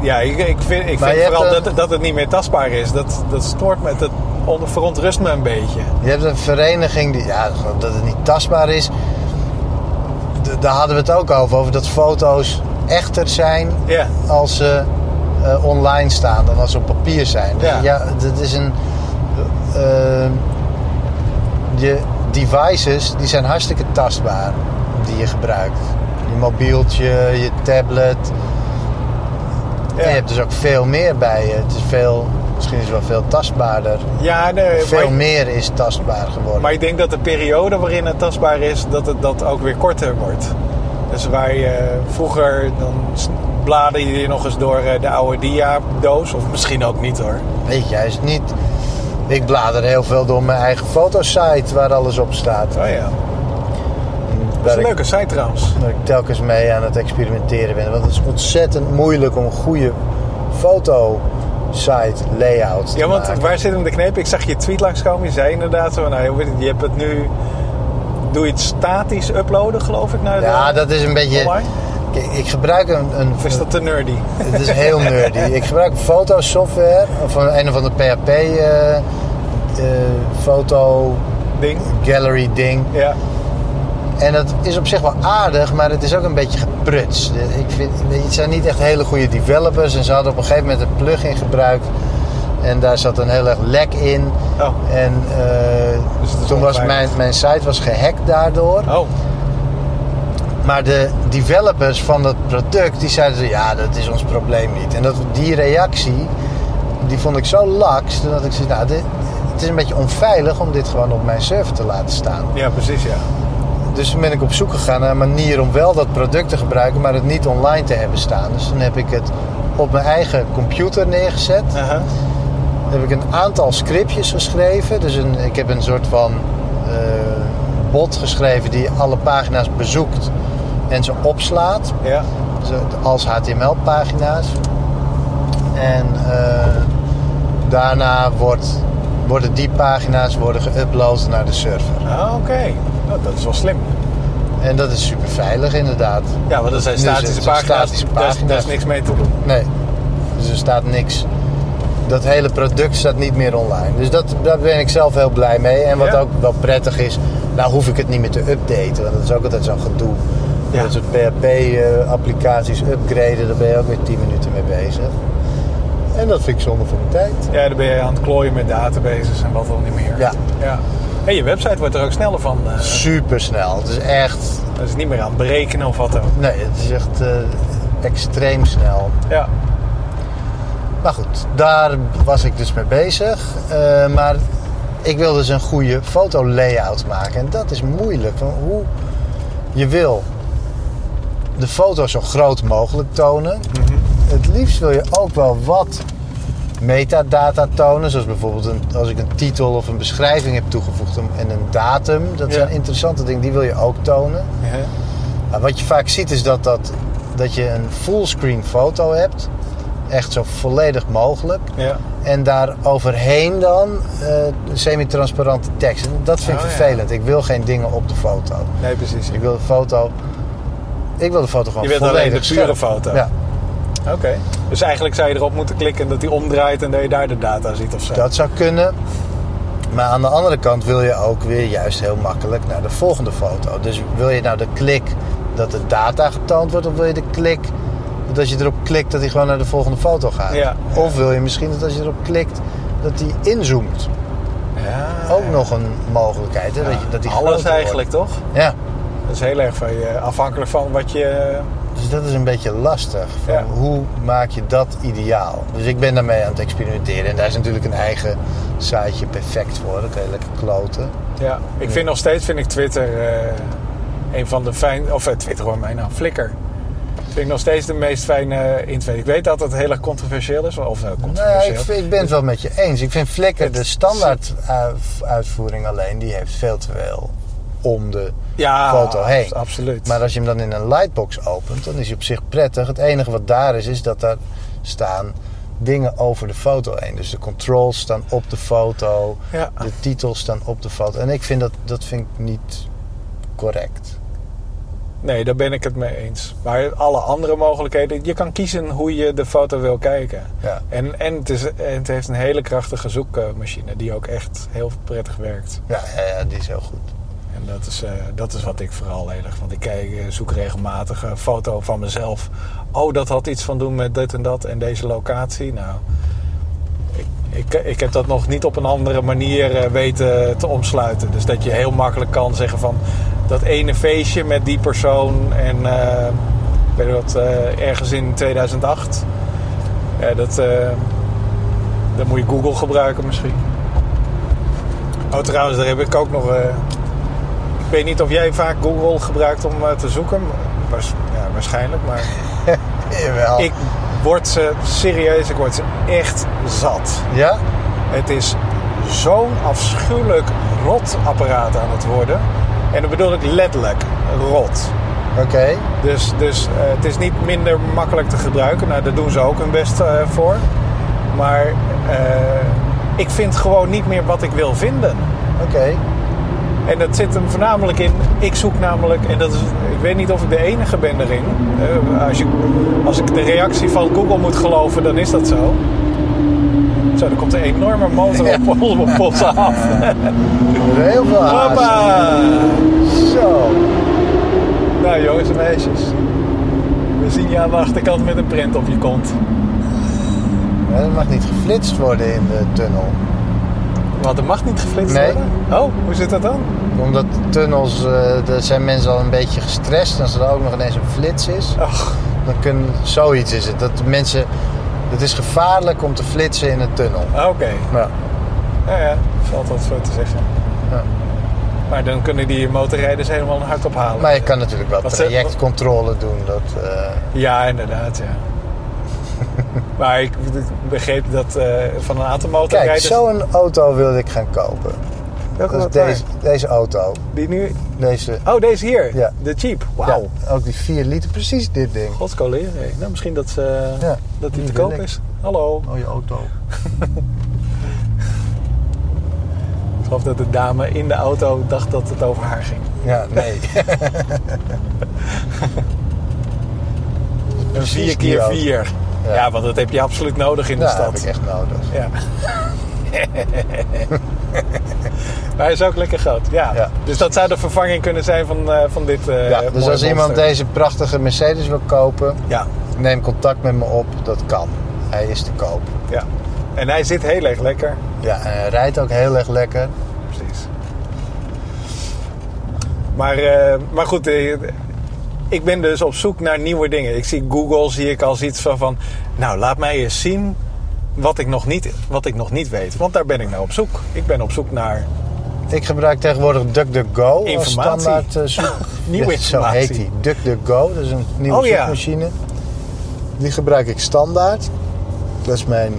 ja, ik, ik vind, ik Maar vind je hebt vooral een- dat, dat het niet meer tastbaar is. Dat, dat stoort me. Dat on- verontrust me een beetje. Je hebt een vereniging die, ja, dat het niet tastbaar is. D- daar hadden we het ook over. Over dat foto's echter zijn Ja. als ze eh, online staan dan als ze op papier zijn. Ja. dat is een. eh, je devices die zijn hartstikke tastbaar die je gebruikt. Je mobieltje, je tablet. En je Ja, hebt dus ook veel meer bij je. Het is veel, misschien is het wel veel tastbaarder. ja nee, veel maar, meer is tastbaar geworden. maar ik denk dat de periode waarin het tastbaar is... dat het dat ook weer korter wordt. Dus waar je vroeger... dan s- blader je nog eens door eh, de oude dia-doos. Of misschien ook niet hoor. Weet je, juist niet. Ik blader heel veel door mijn eigen fotosite waar alles op staat. Oh ja. Dat is Waar een ik- leuke site trouwens. dat ik telkens mee aan het experimenteren ben. Want het is ontzettend moeilijk om een goede fotosite layout te Ja, want maken. waar zit hem de kneep? Ik zag je tweet langskomen. Je zei inderdaad zo, nou, je weet- je hebt het nu... Doe je het statisch uploaden, geloof ik, naar de- Ja, dat is een beetje... online? Ik, ik gebruik een... een Of is dat te nerdy? Het is heel nerdy. Ik gebruik fotosoftware van een of ander PHP eh, eh, foto Ding? gallery ding. Ja. En dat is op zich wel aardig, maar het is ook een beetje gepruts. Ik vind, het zijn niet echt hele goede developers. En ze hadden op een gegeven moment een plugin gebruikt. En daar zat een heel erg lek in. Oh. En eh, Dus het is toen was onveilig. mijn, mijn site was gehackt daardoor. Oh. Maar de developers van dat product, die zeiden zo, ja, dat is ons probleem niet. En dat, die reactie, die vond ik zo laks. Dat ik zei, nou, dit- het is een beetje onveilig om dit gewoon op mijn server te laten staan. Ja, precies, ja. Dus toen ben ik op zoek gegaan naar een manier om wel dat product te gebruiken, maar het niet online te hebben staan. Dus toen heb ik het op mijn eigen computer neergezet. Aha. Toen heb ik een aantal scriptjes geschreven. Dus een, ik heb een soort van eh, bot geschreven die alle pagina's bezoekt en ze opslaat. Ja. Zo- als HTML-pagina's. En eh, daarna wordt, worden die pagina's worden geüpload naar de server. Ah, oké. Nou, dat is wel slim. En dat is super veilig inderdaad. Ja, want dat zijn Nu statische zijn het pagina's. statische daar is- Daar is pagina's. niks mee te doen. Nee, dus er staat niks. Dat hele product staat niet meer online. Dus dat, daar ben ik zelf heel blij mee. En wat Ja. ook wel prettig is, nou hoef ik het niet meer te updaten. Want dat is ook altijd zo'n gedoe. Ja. Dat soort PHP-applicaties eh, upgraden, daar ben je ook weer 10 minuten mee bezig. En dat vind ik zonde van mijn tijd. Ja, dan ben je aan het klooien met databases en wat dan niet meer. Ja. ja. En je website wordt er ook sneller van. eh. Super snel. Het is echt Dat is niet meer aan het berekenen of wat dan ook. Nee, het is echt eh, extreem snel. Ja, Maar goed, daar was ik dus mee bezig. Eh, maar ik wil dus een goede fotolayout maken. En dat is moeilijk. Want hoe je wil de foto zo groot mogelijk tonen. Het liefst wil je ook wel wat metadata tonen. Zoals bijvoorbeeld een, als ik een titel of een beschrijving heb toegevoegd en een datum. Dat Ja. zijn interessante dingen, die wil je ook tonen. Ja. Maar wat je vaak ziet is dat, dat, dat je een fullscreen foto hebt. Echt zo volledig mogelijk. ja. En daar overheen dan eh, semi-transparante tekst. En dat vind ik Oh, ja. vervelend. Ik wil geen dingen op de foto. Nee, precies. Ik wil de foto... Ik wil de foto gewoon Je wilt alleen volledig de pure scherp. foto. Ja, Oké. Dus eigenlijk zou je erop moeten klikken dat hij omdraait en dat je daar de data ziet of zo. dat zou kunnen. Maar aan de andere kant wil je ook weer juist heel makkelijk naar de volgende foto. Dus wil je nou de klik dat de data getoond wordt... of wil je de klik dat als je erop klikt dat hij gewoon naar de volgende foto gaat? Ja. Of wil je misschien dat als je erop klikt dat hij inzoomt? Ja. Ook nog een mogelijkheid. Hè? Dat je, dat die groter Alles wordt. eigenlijk, toch? Ja, Dat is heel erg van je, afhankelijk van wat je... dus dat is een beetje lastig. Van Ja. Hoe maak je dat ideaal? Dus ik ben daarmee aan het experimenteren. En daar is natuurlijk een eigen siteje perfect voor. Dat kan je lekker kloten. Ja. Ik vind nog steeds vind ik Twitter eh, een van de fijn... Of eh, Twitter hoor mij nou, Flickr. Vind ik nog steeds de meest fijne internet. Ik weet dat het heel erg controversieel is. Of nou, controversieel. Nee, ik, vind- ik ben het wel met je eens. Ik vind Flickr, Het de standaard uif- uitvoering alleen, die heeft veel te veel om de ja, foto heen. absoluut. Maar als je hem dan in een lightbox opent, dan is hij op zich prettig. Het enige wat daar is, is dat daar staan dingen over de foto heen. Dus de controls staan op de foto, Ja. de titels staan op de foto. En ik vind dat, dat vind ik niet correct. Nee, daar ben ik het mee eens. Maar alle andere mogelijkheden, je kan kiezen hoe je de foto wil kijken. Ja. En, en, het, is, en het heeft een hele krachtige zoekmachine die ook echt heel prettig werkt. Ja, ja, ja, die is heel goed. En dat is, eh, dat is wat ik vooral heel erg. Want ik kijk, eh, zoek regelmatig een foto van mezelf. Oh, dat had iets van doen met dit en dat en deze locatie. Nou, ik, ik, ik heb dat nog niet op een andere manier eh, weten te omsluiten. Dus dat je heel makkelijk kan zeggen van dat ene feestje met die persoon en eh, weet je wat, eh, ergens in 2008. Ja, dat, eh, dan moet je Google gebruiken misschien. Oh, trouwens, daar heb ik ook nog. eh, ik weet niet of jij vaak Google gebruikt om eh, te zoeken. Waars- ja, waarschijnlijk, maar Jawel. ik word ze serieus, ik word ze echt zat. Ja? Het is zo'n afschuwelijk rot apparaat aan het worden. En dat bedoel ik letterlijk rot. Oké. Dus, dus eh, het is niet minder makkelijk te gebruiken. Nou, daar doen ze ook hun best eh, voor. Maar eh, ik vind gewoon niet meer wat ik wil vinden. Oké. En dat zit hem voornamelijk in. Ik zoek namelijk, en dat is, ik weet niet of ik de enige ben daarin. Eh, als, je, als ik de reactie van Google moet geloven, dan is dat zo. Zo, er komt een enorme motor op, op ons af. Er is Heel veel haast. Hoppa! Zo. Nou, jongens en meisjes. We zien je aan de achterkant met een print op je kont. Ja, Er mag niet geflitst worden in de tunnel. Want er mag niet geflitst Nee. worden. Oh, hoe zit dat dan? Omdat de tunnels, eh, daar zijn mensen al een beetje gestrest. En als er ook nog ineens een flits is, Ach, dan kunnen zoiets is het. Dat mensen, het is gevaarlijk om te flitsen in een tunnel. oké. Ja. Nou ja, valt wat voor te zeggen. Ja. Maar dan kunnen die motorrijders helemaal een hart ophalen. Maar je kan natuurlijk wel Wat ze- trajectcontrole doen. Dat, eh, Ja, inderdaad, ja. maar ik begreep dat eh, van een aantal Kijk, motorrijders... zo'n auto wilde ik gaan kopen. Welke Dat is was het deze, daar? deze auto. Die nu... Deze, Oh, deze hier. Ja. De Jeep. Wauw. ja, ook die 4 liter, precies dit ding. Godskolen. hè? Nou, misschien dat, ze, Ja, dat die die te wil koop ik. is. Hallo. Mooie auto. Ik geloof dat de dame in de auto dacht dat het over haar ging. Ja, nee. Een Precies 4 die keer auto. 4. Ja. Ja. want dat heb je absoluut nodig in de Ja, dat heb stad. ik echt nodig. Ja. maar hij is ook lekker groot. Ja. Ja. Dus dat zou de vervanging kunnen zijn van, eh, van dit. eh, Ja, dus mooie als iemand monster. deze prachtige Mercedes wil kopen, Ja, neem contact met me op. Dat kan. Hij is te koop. ja. En hij zit heel erg lekker. Ja, en hij rijdt ook heel erg lekker. Precies. Maar, eh, maar goed, eh, ik ben dus op zoek naar nieuwe dingen. Ik zie Google zie ik als iets van, van nou laat mij eens zien wat ik, nog niet, wat ik nog niet weet. Want daar ben ik naar op zoek. Ik ben op zoek naar Ik gebruik tegenwoordig DuckDuckGo als Informatie. standaard eh, zoek. Nieuwe Ja, Zo informatie. heet die. DuckDuckGo, dat is een nieuwe Oh ja. zoekmachine. Die gebruik ik standaard. Dat is mijn...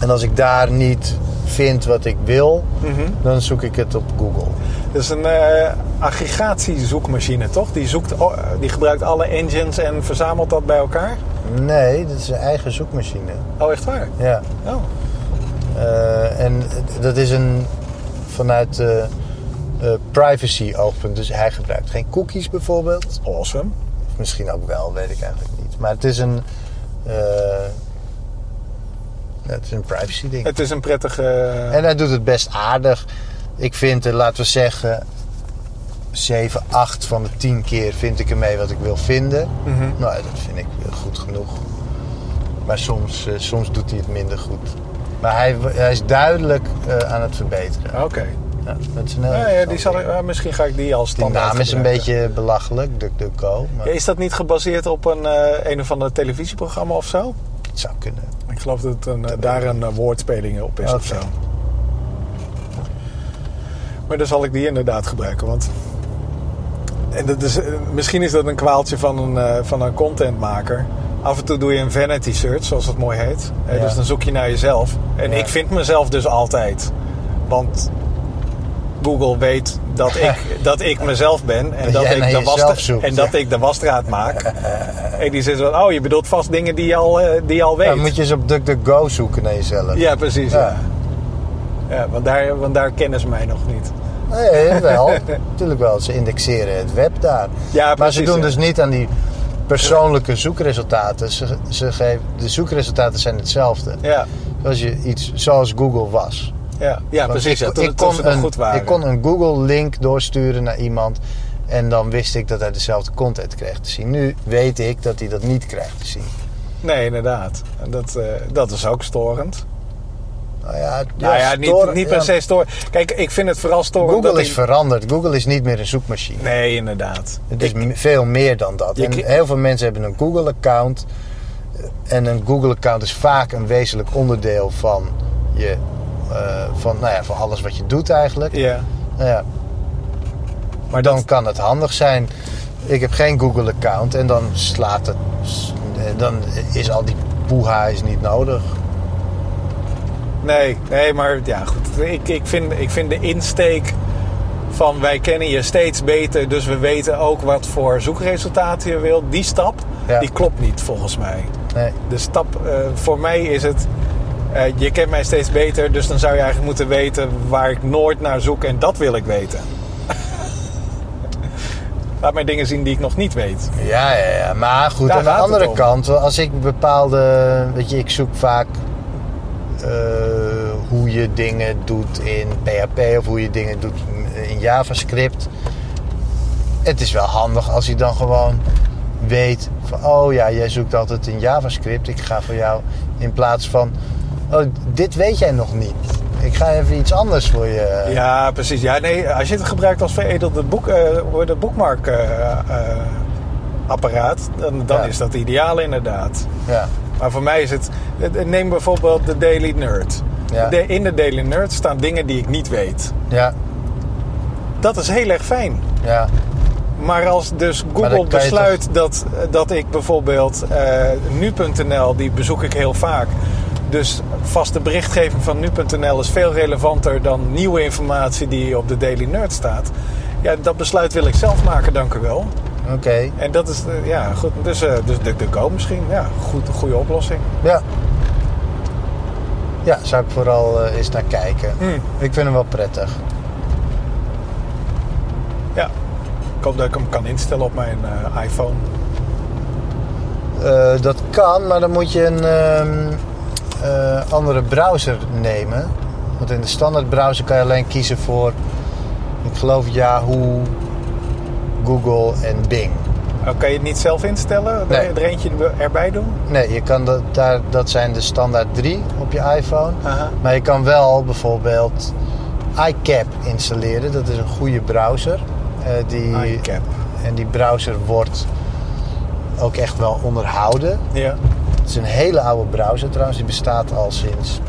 En als ik daar niet vind wat ik wil, Mhm. dan zoek ik het op Google. Dat is een eh aggregatiezoekmachine, toch? Die, zoekt, oh, eh, die gebruikt alle engines en verzamelt dat bij elkaar. Nee, dat is een eigen zoekmachine. Oh, echt waar? Ja. Oh. Eh, en dat is een vanuit eh, eh, privacy oogpunt. Dus hij gebruikt geen cookies bijvoorbeeld. Awesome. Of misschien ook wel, weet ik eigenlijk niet. Maar het is een. eh, ja, het is een privacy ding. Het is een prettige... En hij doet het best aardig. Ik vind er, laten we zeggen, 7, 8 van de 10 keer vind ik ermee wat ik wil vinden. Mhm. Nou, dat vind ik eh, goed genoeg. Maar soms, eh, soms doet hij het minder goed. Maar hij, hij is duidelijk eh, aan het verbeteren. Oké. Ja, dat is een heel Nou ja, die interessant zal ik, ding. eh, misschien ga ik die als Die standaard naam is een gebruiken. beetje belachelijk, DuckDuckGo. Maar Ja, Is dat niet gebaseerd op een, eh, een of ander televisieprogramma of zo? het zou kunnen. Ik geloof dat het een, eh, daar een eh, woordspeling op is of Oké. zo. Maar dan zal ik die inderdaad gebruiken. Want en dat is, eh, misschien is dat een kwaaltje van een, eh, van een contentmaker. Af en toe doe je een vanity search, zoals het mooi heet. Eh, Ja. Dus dan zoek je naar jezelf. En Ja. ik vind mezelf dus altijd. Want Google weet dat ik, dat ik mezelf ben. En Dat dat, jij ik naar de jezelf wasstraat, zoekt, en dat ik de wasstraat maak. en die zegt van, oh, je bedoelt vast dingen die je al, eh, die je al weet. Dan moet je eens op DuckDuckGo zoeken naar jezelf. Ja, precies. Ja. Ja. Ja, want, daar, want daar kennen ze mij nog niet. Nee, wel. Eh, Natuurlijk wel. Ze indexeren het web daar. Ja, maar ze precies, doen ja. dus niet aan die persoonlijke zoekresultaten. Ze, ze geven, de zoekresultaten zijn hetzelfde. Ja, Zoals, je iets, zoals Google was. ja, ja Want precies. ja, Ik, toen, ik, toen kon ze nog een, goed waren. ik kon een Google-link doorsturen naar iemand. En dan wist ik dat hij dezelfde content kreeg te zien. Nu weet ik dat hij dat niet krijgt te zien. Nee, inderdaad. En Dat, eh, dat is ook storend. Nou ja, het- nou ja, storen- niet, niet ja. per se storend. Kijk, ik vind het vooral storend dat Google is ik... veranderd. Google is niet meer een zoekmachine. Nee, inderdaad. Het is me- veel meer dan dat. Je En kri- heel veel mensen hebben een Google-account. En een Google-account is vaak een wezenlijk onderdeel van, je, eh, van, nou ja, van alles wat je doet eigenlijk. Ja. Nou ja, Maar dan dat, kan het handig zijn. Ik heb geen Google-account en dan slaat het. eh, Dan is al die poeha is niet nodig. nee, nee, maar ja, goed. Ik, ik, vind, ik vind de insteek van wij kennen je steeds beter... dus we weten ook wat voor zoekresultaten je wilt. Die stap, Ja. die klopt niet volgens mij. Nee. De stap eh, voor mij is het. eh, je kent mij steeds beter, dus dan zou je eigenlijk moeten weten waar ik nooit naar zoek en dat wil ik weten. Laat mij dingen zien die ik nog niet weet. Ja, ja, ja. Maar goed, Daar aan de gaat het andere om. kant, als ik bepaalde. Weet je, ik zoek vaak eh, hoe je dingen doet in PHP of hoe je dingen doet in- in JavaScript. Het is wel handig als je dan gewoon weet van, oh ja, jij zoekt altijd in JavaScript. Ik ga voor jou in plaats van, oh, dit weet jij nog niet. Ik ga even iets anders voor je. Ja, precies. Ja, nee, als je het gebruikt als veredelde boek, eh, hoe de boekmarkapparaat, eh, dan, dan Ja. is dat ideaal inderdaad. Ja. Maar voor mij is het. eh, Neem bijvoorbeeld de Daily Nerd. Ja. De- in de Daily Nerd staan dingen die ik niet weet. ja, Dat is heel erg fijn. ja. Maar als dus dan Google kan je besluit dat, dat ik bijvoorbeeld eh, nu.nl, die bezoek ik heel vaak. Dus vaste berichtgeving van nu.nl is veel relevanter dan nieuwe informatie die op de Daily Nerd staat. Ja, dat besluit wil ik zelf maken, dank u wel. Oké. En dat is, eh, ja, goed. Dus, eh dus DuckDuckGo misschien. Ja, goed, goede oplossing. Ja. Ja, zou ik vooral eh, eens naar kijken. Hmm. Ik vind hem wel prettig. Ja. Ik hoop dat ik hem kan instellen op mijn eh, iPhone. Eh, dat kan, maar dan moet je een ehm, eh, andere browser nemen. Want in de standaard browser kan je alleen kiezen voor, ik geloof Yahoo, Google en Bing. Oh, kan je het niet zelf instellen? Nee. Er eentje erbij doen? Nee, je kan dat, daar, dat zijn de standaard drie op je iPhone. Aha. Maar je kan wel bijvoorbeeld iCap installeren. Dat is een goede browser. eh, die, iCap. en die browser wordt ook echt wel onderhouden. Ja. Het is een hele oude browser trouwens. Die bestaat al sinds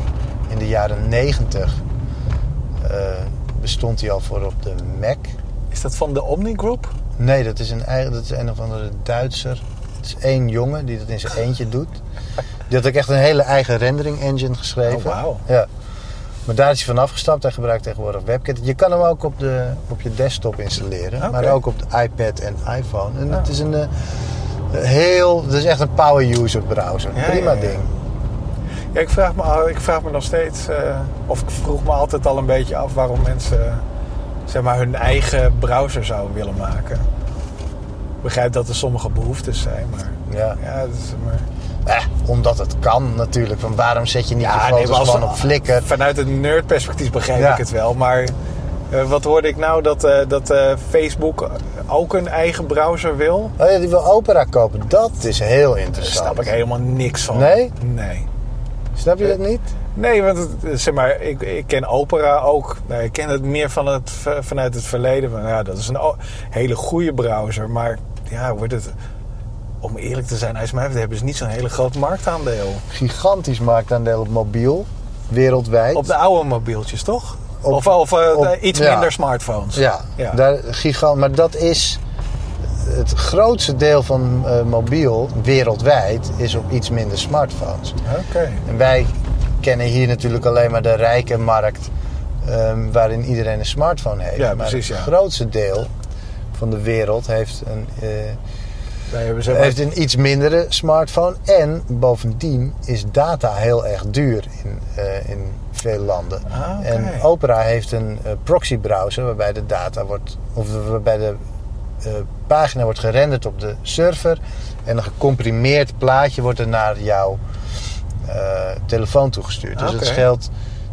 in de jaren 90 eh, bestond die al voor op de Mac. Is dat van de Omni Group? Nee, dat is een, eigen- dat is een of andere Duitser. Het is één jongen die dat in zijn eentje doet. Die had ook echt een hele eigen rendering engine geschreven. Oh, wauw. Ja. Maar daar is hij van afgestapt. Hij gebruikt tegenwoordig WebKit. Je kan hem ook op, de, op je desktop installeren. Oké. Ah. Maar ook op de iPad en iPhone. En het is een eh, heel... Het is echt een power user browser. Ja, Prima ja, ja. ding. Ja, ik vraag me, ik vraag me nog steeds, eh, of ik vroeg me altijd al een beetje af waarom mensen zeg maar, hun eigen browser zouden willen maken. Ik begrijp dat er sommige behoeftes zijn, maar. Ja. Ja, dat is maar. Eh, omdat het kan natuurlijk. Want waarom zet je niet Ja, nee, je foto's maar als- gewoon op Flickr? Vanuit een nerdperspectief begrijp Ja. ik het wel, maar. eh, wat hoorde ik nou? Dat, eh, dat eh, Facebook ook een eigen browser wil? Oh ja, die wil Opera kopen. Dat is heel Daar interessant. snap ik helemaal niks van. Nee? Nee. Snap je dat Eh, niet? Nee, want het, zeg maar, ik, ik ken opera ook. Nou, ik ken het meer van het, v- vanuit het verleden. Maar ja, dat is een o- hele goede browser. Maar ja, wordt het, om eerlijk te zijn, hij is mij betreft hebben ze niet zo'n hele groot marktaandeel. Gigantisch marktaandeel op mobiel. Wereldwijd. Op de oude mobieltjes, toch? Op- of of eh, op- iets ja. minder smartphones. Ja, Ja. Daar, gigant. Maar dat is het grootste deel van eh, mobiel wereldwijd is op iets minder smartphones. Oké. En wij kennen hier natuurlijk alleen maar de rijke markt ehm, waarin iedereen een smartphone heeft. Ja, maar precies, het ja. grootste deel van de wereld heeft een, eh, Wij hebben zeg maar- heeft een iets mindere smartphone. En bovendien is data heel erg duur in, eh, in veel landen. Ah, oké. En Opera heeft een eh, proxy browser waarbij de data wordt, of de- waarbij de eh, pagina wordt gerenderd op de server. En een gecomprimeerd plaatje wordt er naar jouw eh, telefoon toegestuurd. Dus Oké. het scheelt,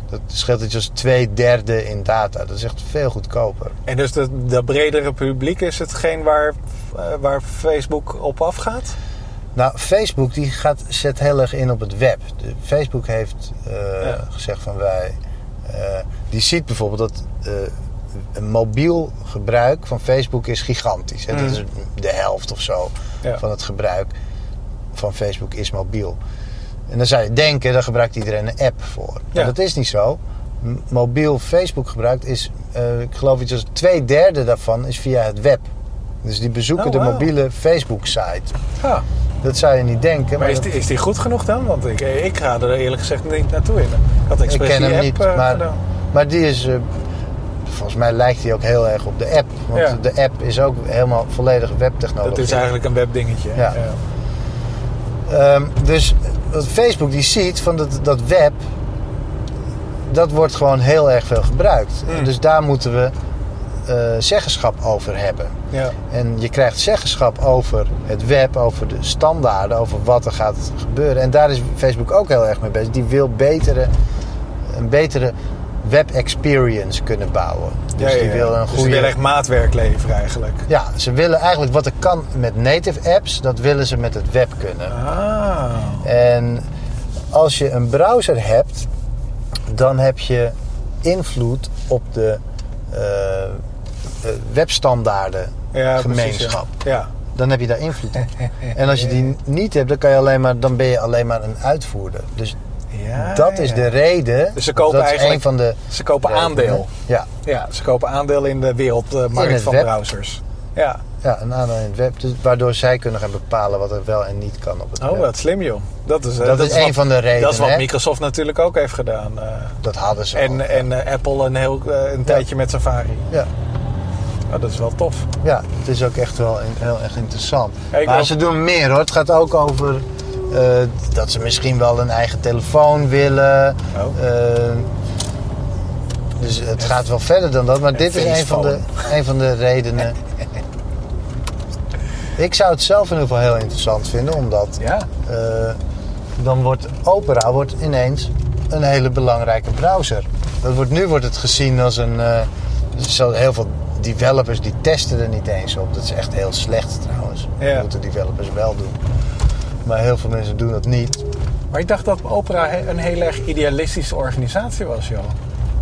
dat scheelt iets als twee derde in data. Dat is echt veel goedkoper. En dus dat dat bredere publiek is hetgeen waar, eh, waar Facebook op afgaat? Nou, Facebook die gaat, zet heel erg in op het web. De- Facebook heeft eh, Ja. gezegd van wij... eh, die ziet bijvoorbeeld dat eh, een mobiel gebruik van Facebook is gigantisch. Hè? Mhm. Dat is de helft of zo Ja. van het gebruik van Facebook is mobiel. En dan zou je denken, daar gebruikt iedereen een app voor. Ja. Maar dat is niet zo. M- mobiel Facebook gebruikt is, eh, ik geloof iets als twee derde daarvan is via het web. Dus die bezoeken Oh, de wauw. mobiele Facebook-site. Ja. Dat zou je niet denken. Maar is dat- die, is die goed genoeg dan? Want ik, eh, ik ga er eerlijk gezegd niet naartoe in. Ik had ik expres ken die hem app niet. eh, maar, gedaan. maar die is. eh, volgens mij lijkt die ook heel erg op de app. Want Ja. de app is ook helemaal volledig webtechnologie. Dat is eigenlijk een webdingetje. hè? Ja. Ehm, dus wat Facebook die ziet van dat, dat web. Dat wordt gewoon heel erg veel gebruikt. Hmm. Dus daar moeten we eh, zeggenschap over hebben. Ja. En je krijgt zeggenschap over het web, over de standaarden, over wat er gaat gebeuren. En daar is Facebook ook heel erg mee bezig. Die wil betere, een betere web experience kunnen bouwen. Dus Ja, ja, die ja. wil een Dus die goede. willen echt maatwerk leveren eigenlijk. Ja, ze willen eigenlijk wat er kan met native apps, dat willen ze met het web kunnen. Ah. En als je een browser hebt, dan heb je invloed op de eh, eh, webstandaarden Ja, gemeenschap Precies, ja. dan heb je daar invloed op. En als je die niet hebt, dan, kan je alleen maar, dan ben je alleen maar een uitvoerder. Dus Ja. Ja, dat is ja. de reden. Dus ze kopen dat is eigenlijk- een van de Ze kopen redenen. aandeel. Ja, Ja, ze kopen aandeel in de In wereldmarkt het van web. browsers. Ja. ja, een aandeel in het web. Dus waardoor zij kunnen gaan bepalen wat er wel en niet kan op het Oh, web. wat slim joh. Dat is, eh, Dat is één wat- van de redenen, Dat is wat hè? Microsoft natuurlijk ook heeft gedaan. eh. Dat hadden ze al. en en eh, Apple een, heel, eh, een tijdje met Safari. Ja, Oh, dat is wel tof. ja, het is ook echt wel in- heel erg interessant. Ja, ik maar wou- ze doen meer hoor. Het gaat ook over eh, dat ze misschien wel een eigen telefoon willen. Oh. Eh, dus het gaat wel verder dan dat, maar dit is een van, de, een van de redenen. Ik zou het zelf in ieder geval heel interessant vinden, omdat Ja. eh, dan wordt Opera wordt ineens een hele belangrijke browser. Dat wordt, nu wordt het gezien als een. eh, zo heel veel developers die testen er niet eens op. Dat is echt heel slecht trouwens. Ja. Dat moeten developers wel doen. Maar heel veel mensen doen dat niet. Maar ik dacht dat Opera he- een heel erg idealistische organisatie was, joh.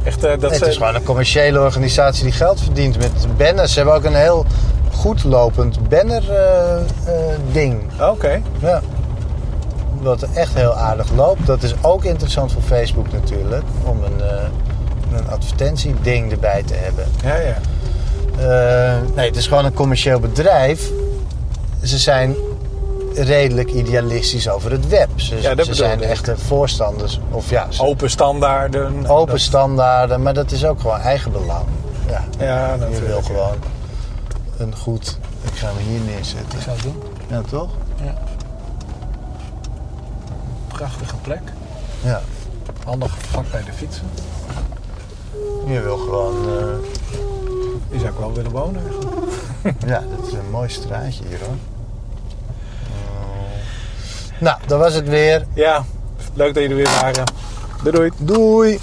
Echt, eh, dat Nee, ze- het is gewoon een commerciële organisatie die geld verdient met banners. Ze hebben ook een heel goed lopend banner eh, eh, ding. Oh, Oké. Ja. Wat echt heel aardig loopt. Dat is ook interessant voor Facebook natuurlijk. Om een, eh een advertentieding erbij te hebben. Ja, ja. Eh, nee, het is gewoon een commercieel bedrijf. Ze zijn redelijk idealistisch over het web. Ja, Ze, dat ze bedoelde zijn ik. echte voorstanders. Of ja, ze- Open standaarden. open Dat- standaarden. Maar dat is ook gewoon eigenbelang. Ja, Ja, je natuurlijk. wil gewoon een goed... Ik ga hem hier neerzetten. Ik zou het doen. Ja, toch? Prachtige plek. Ja. Handig vlak bij de fietsen. Je wil gewoon... eh, Die zou ik wel willen wonen. eigenlijk. Ja, dat is een mooi straatje hier hoor. Nou, dat was het weer. Ja, leuk dat jullie er weer waren. Doei doei. Doei!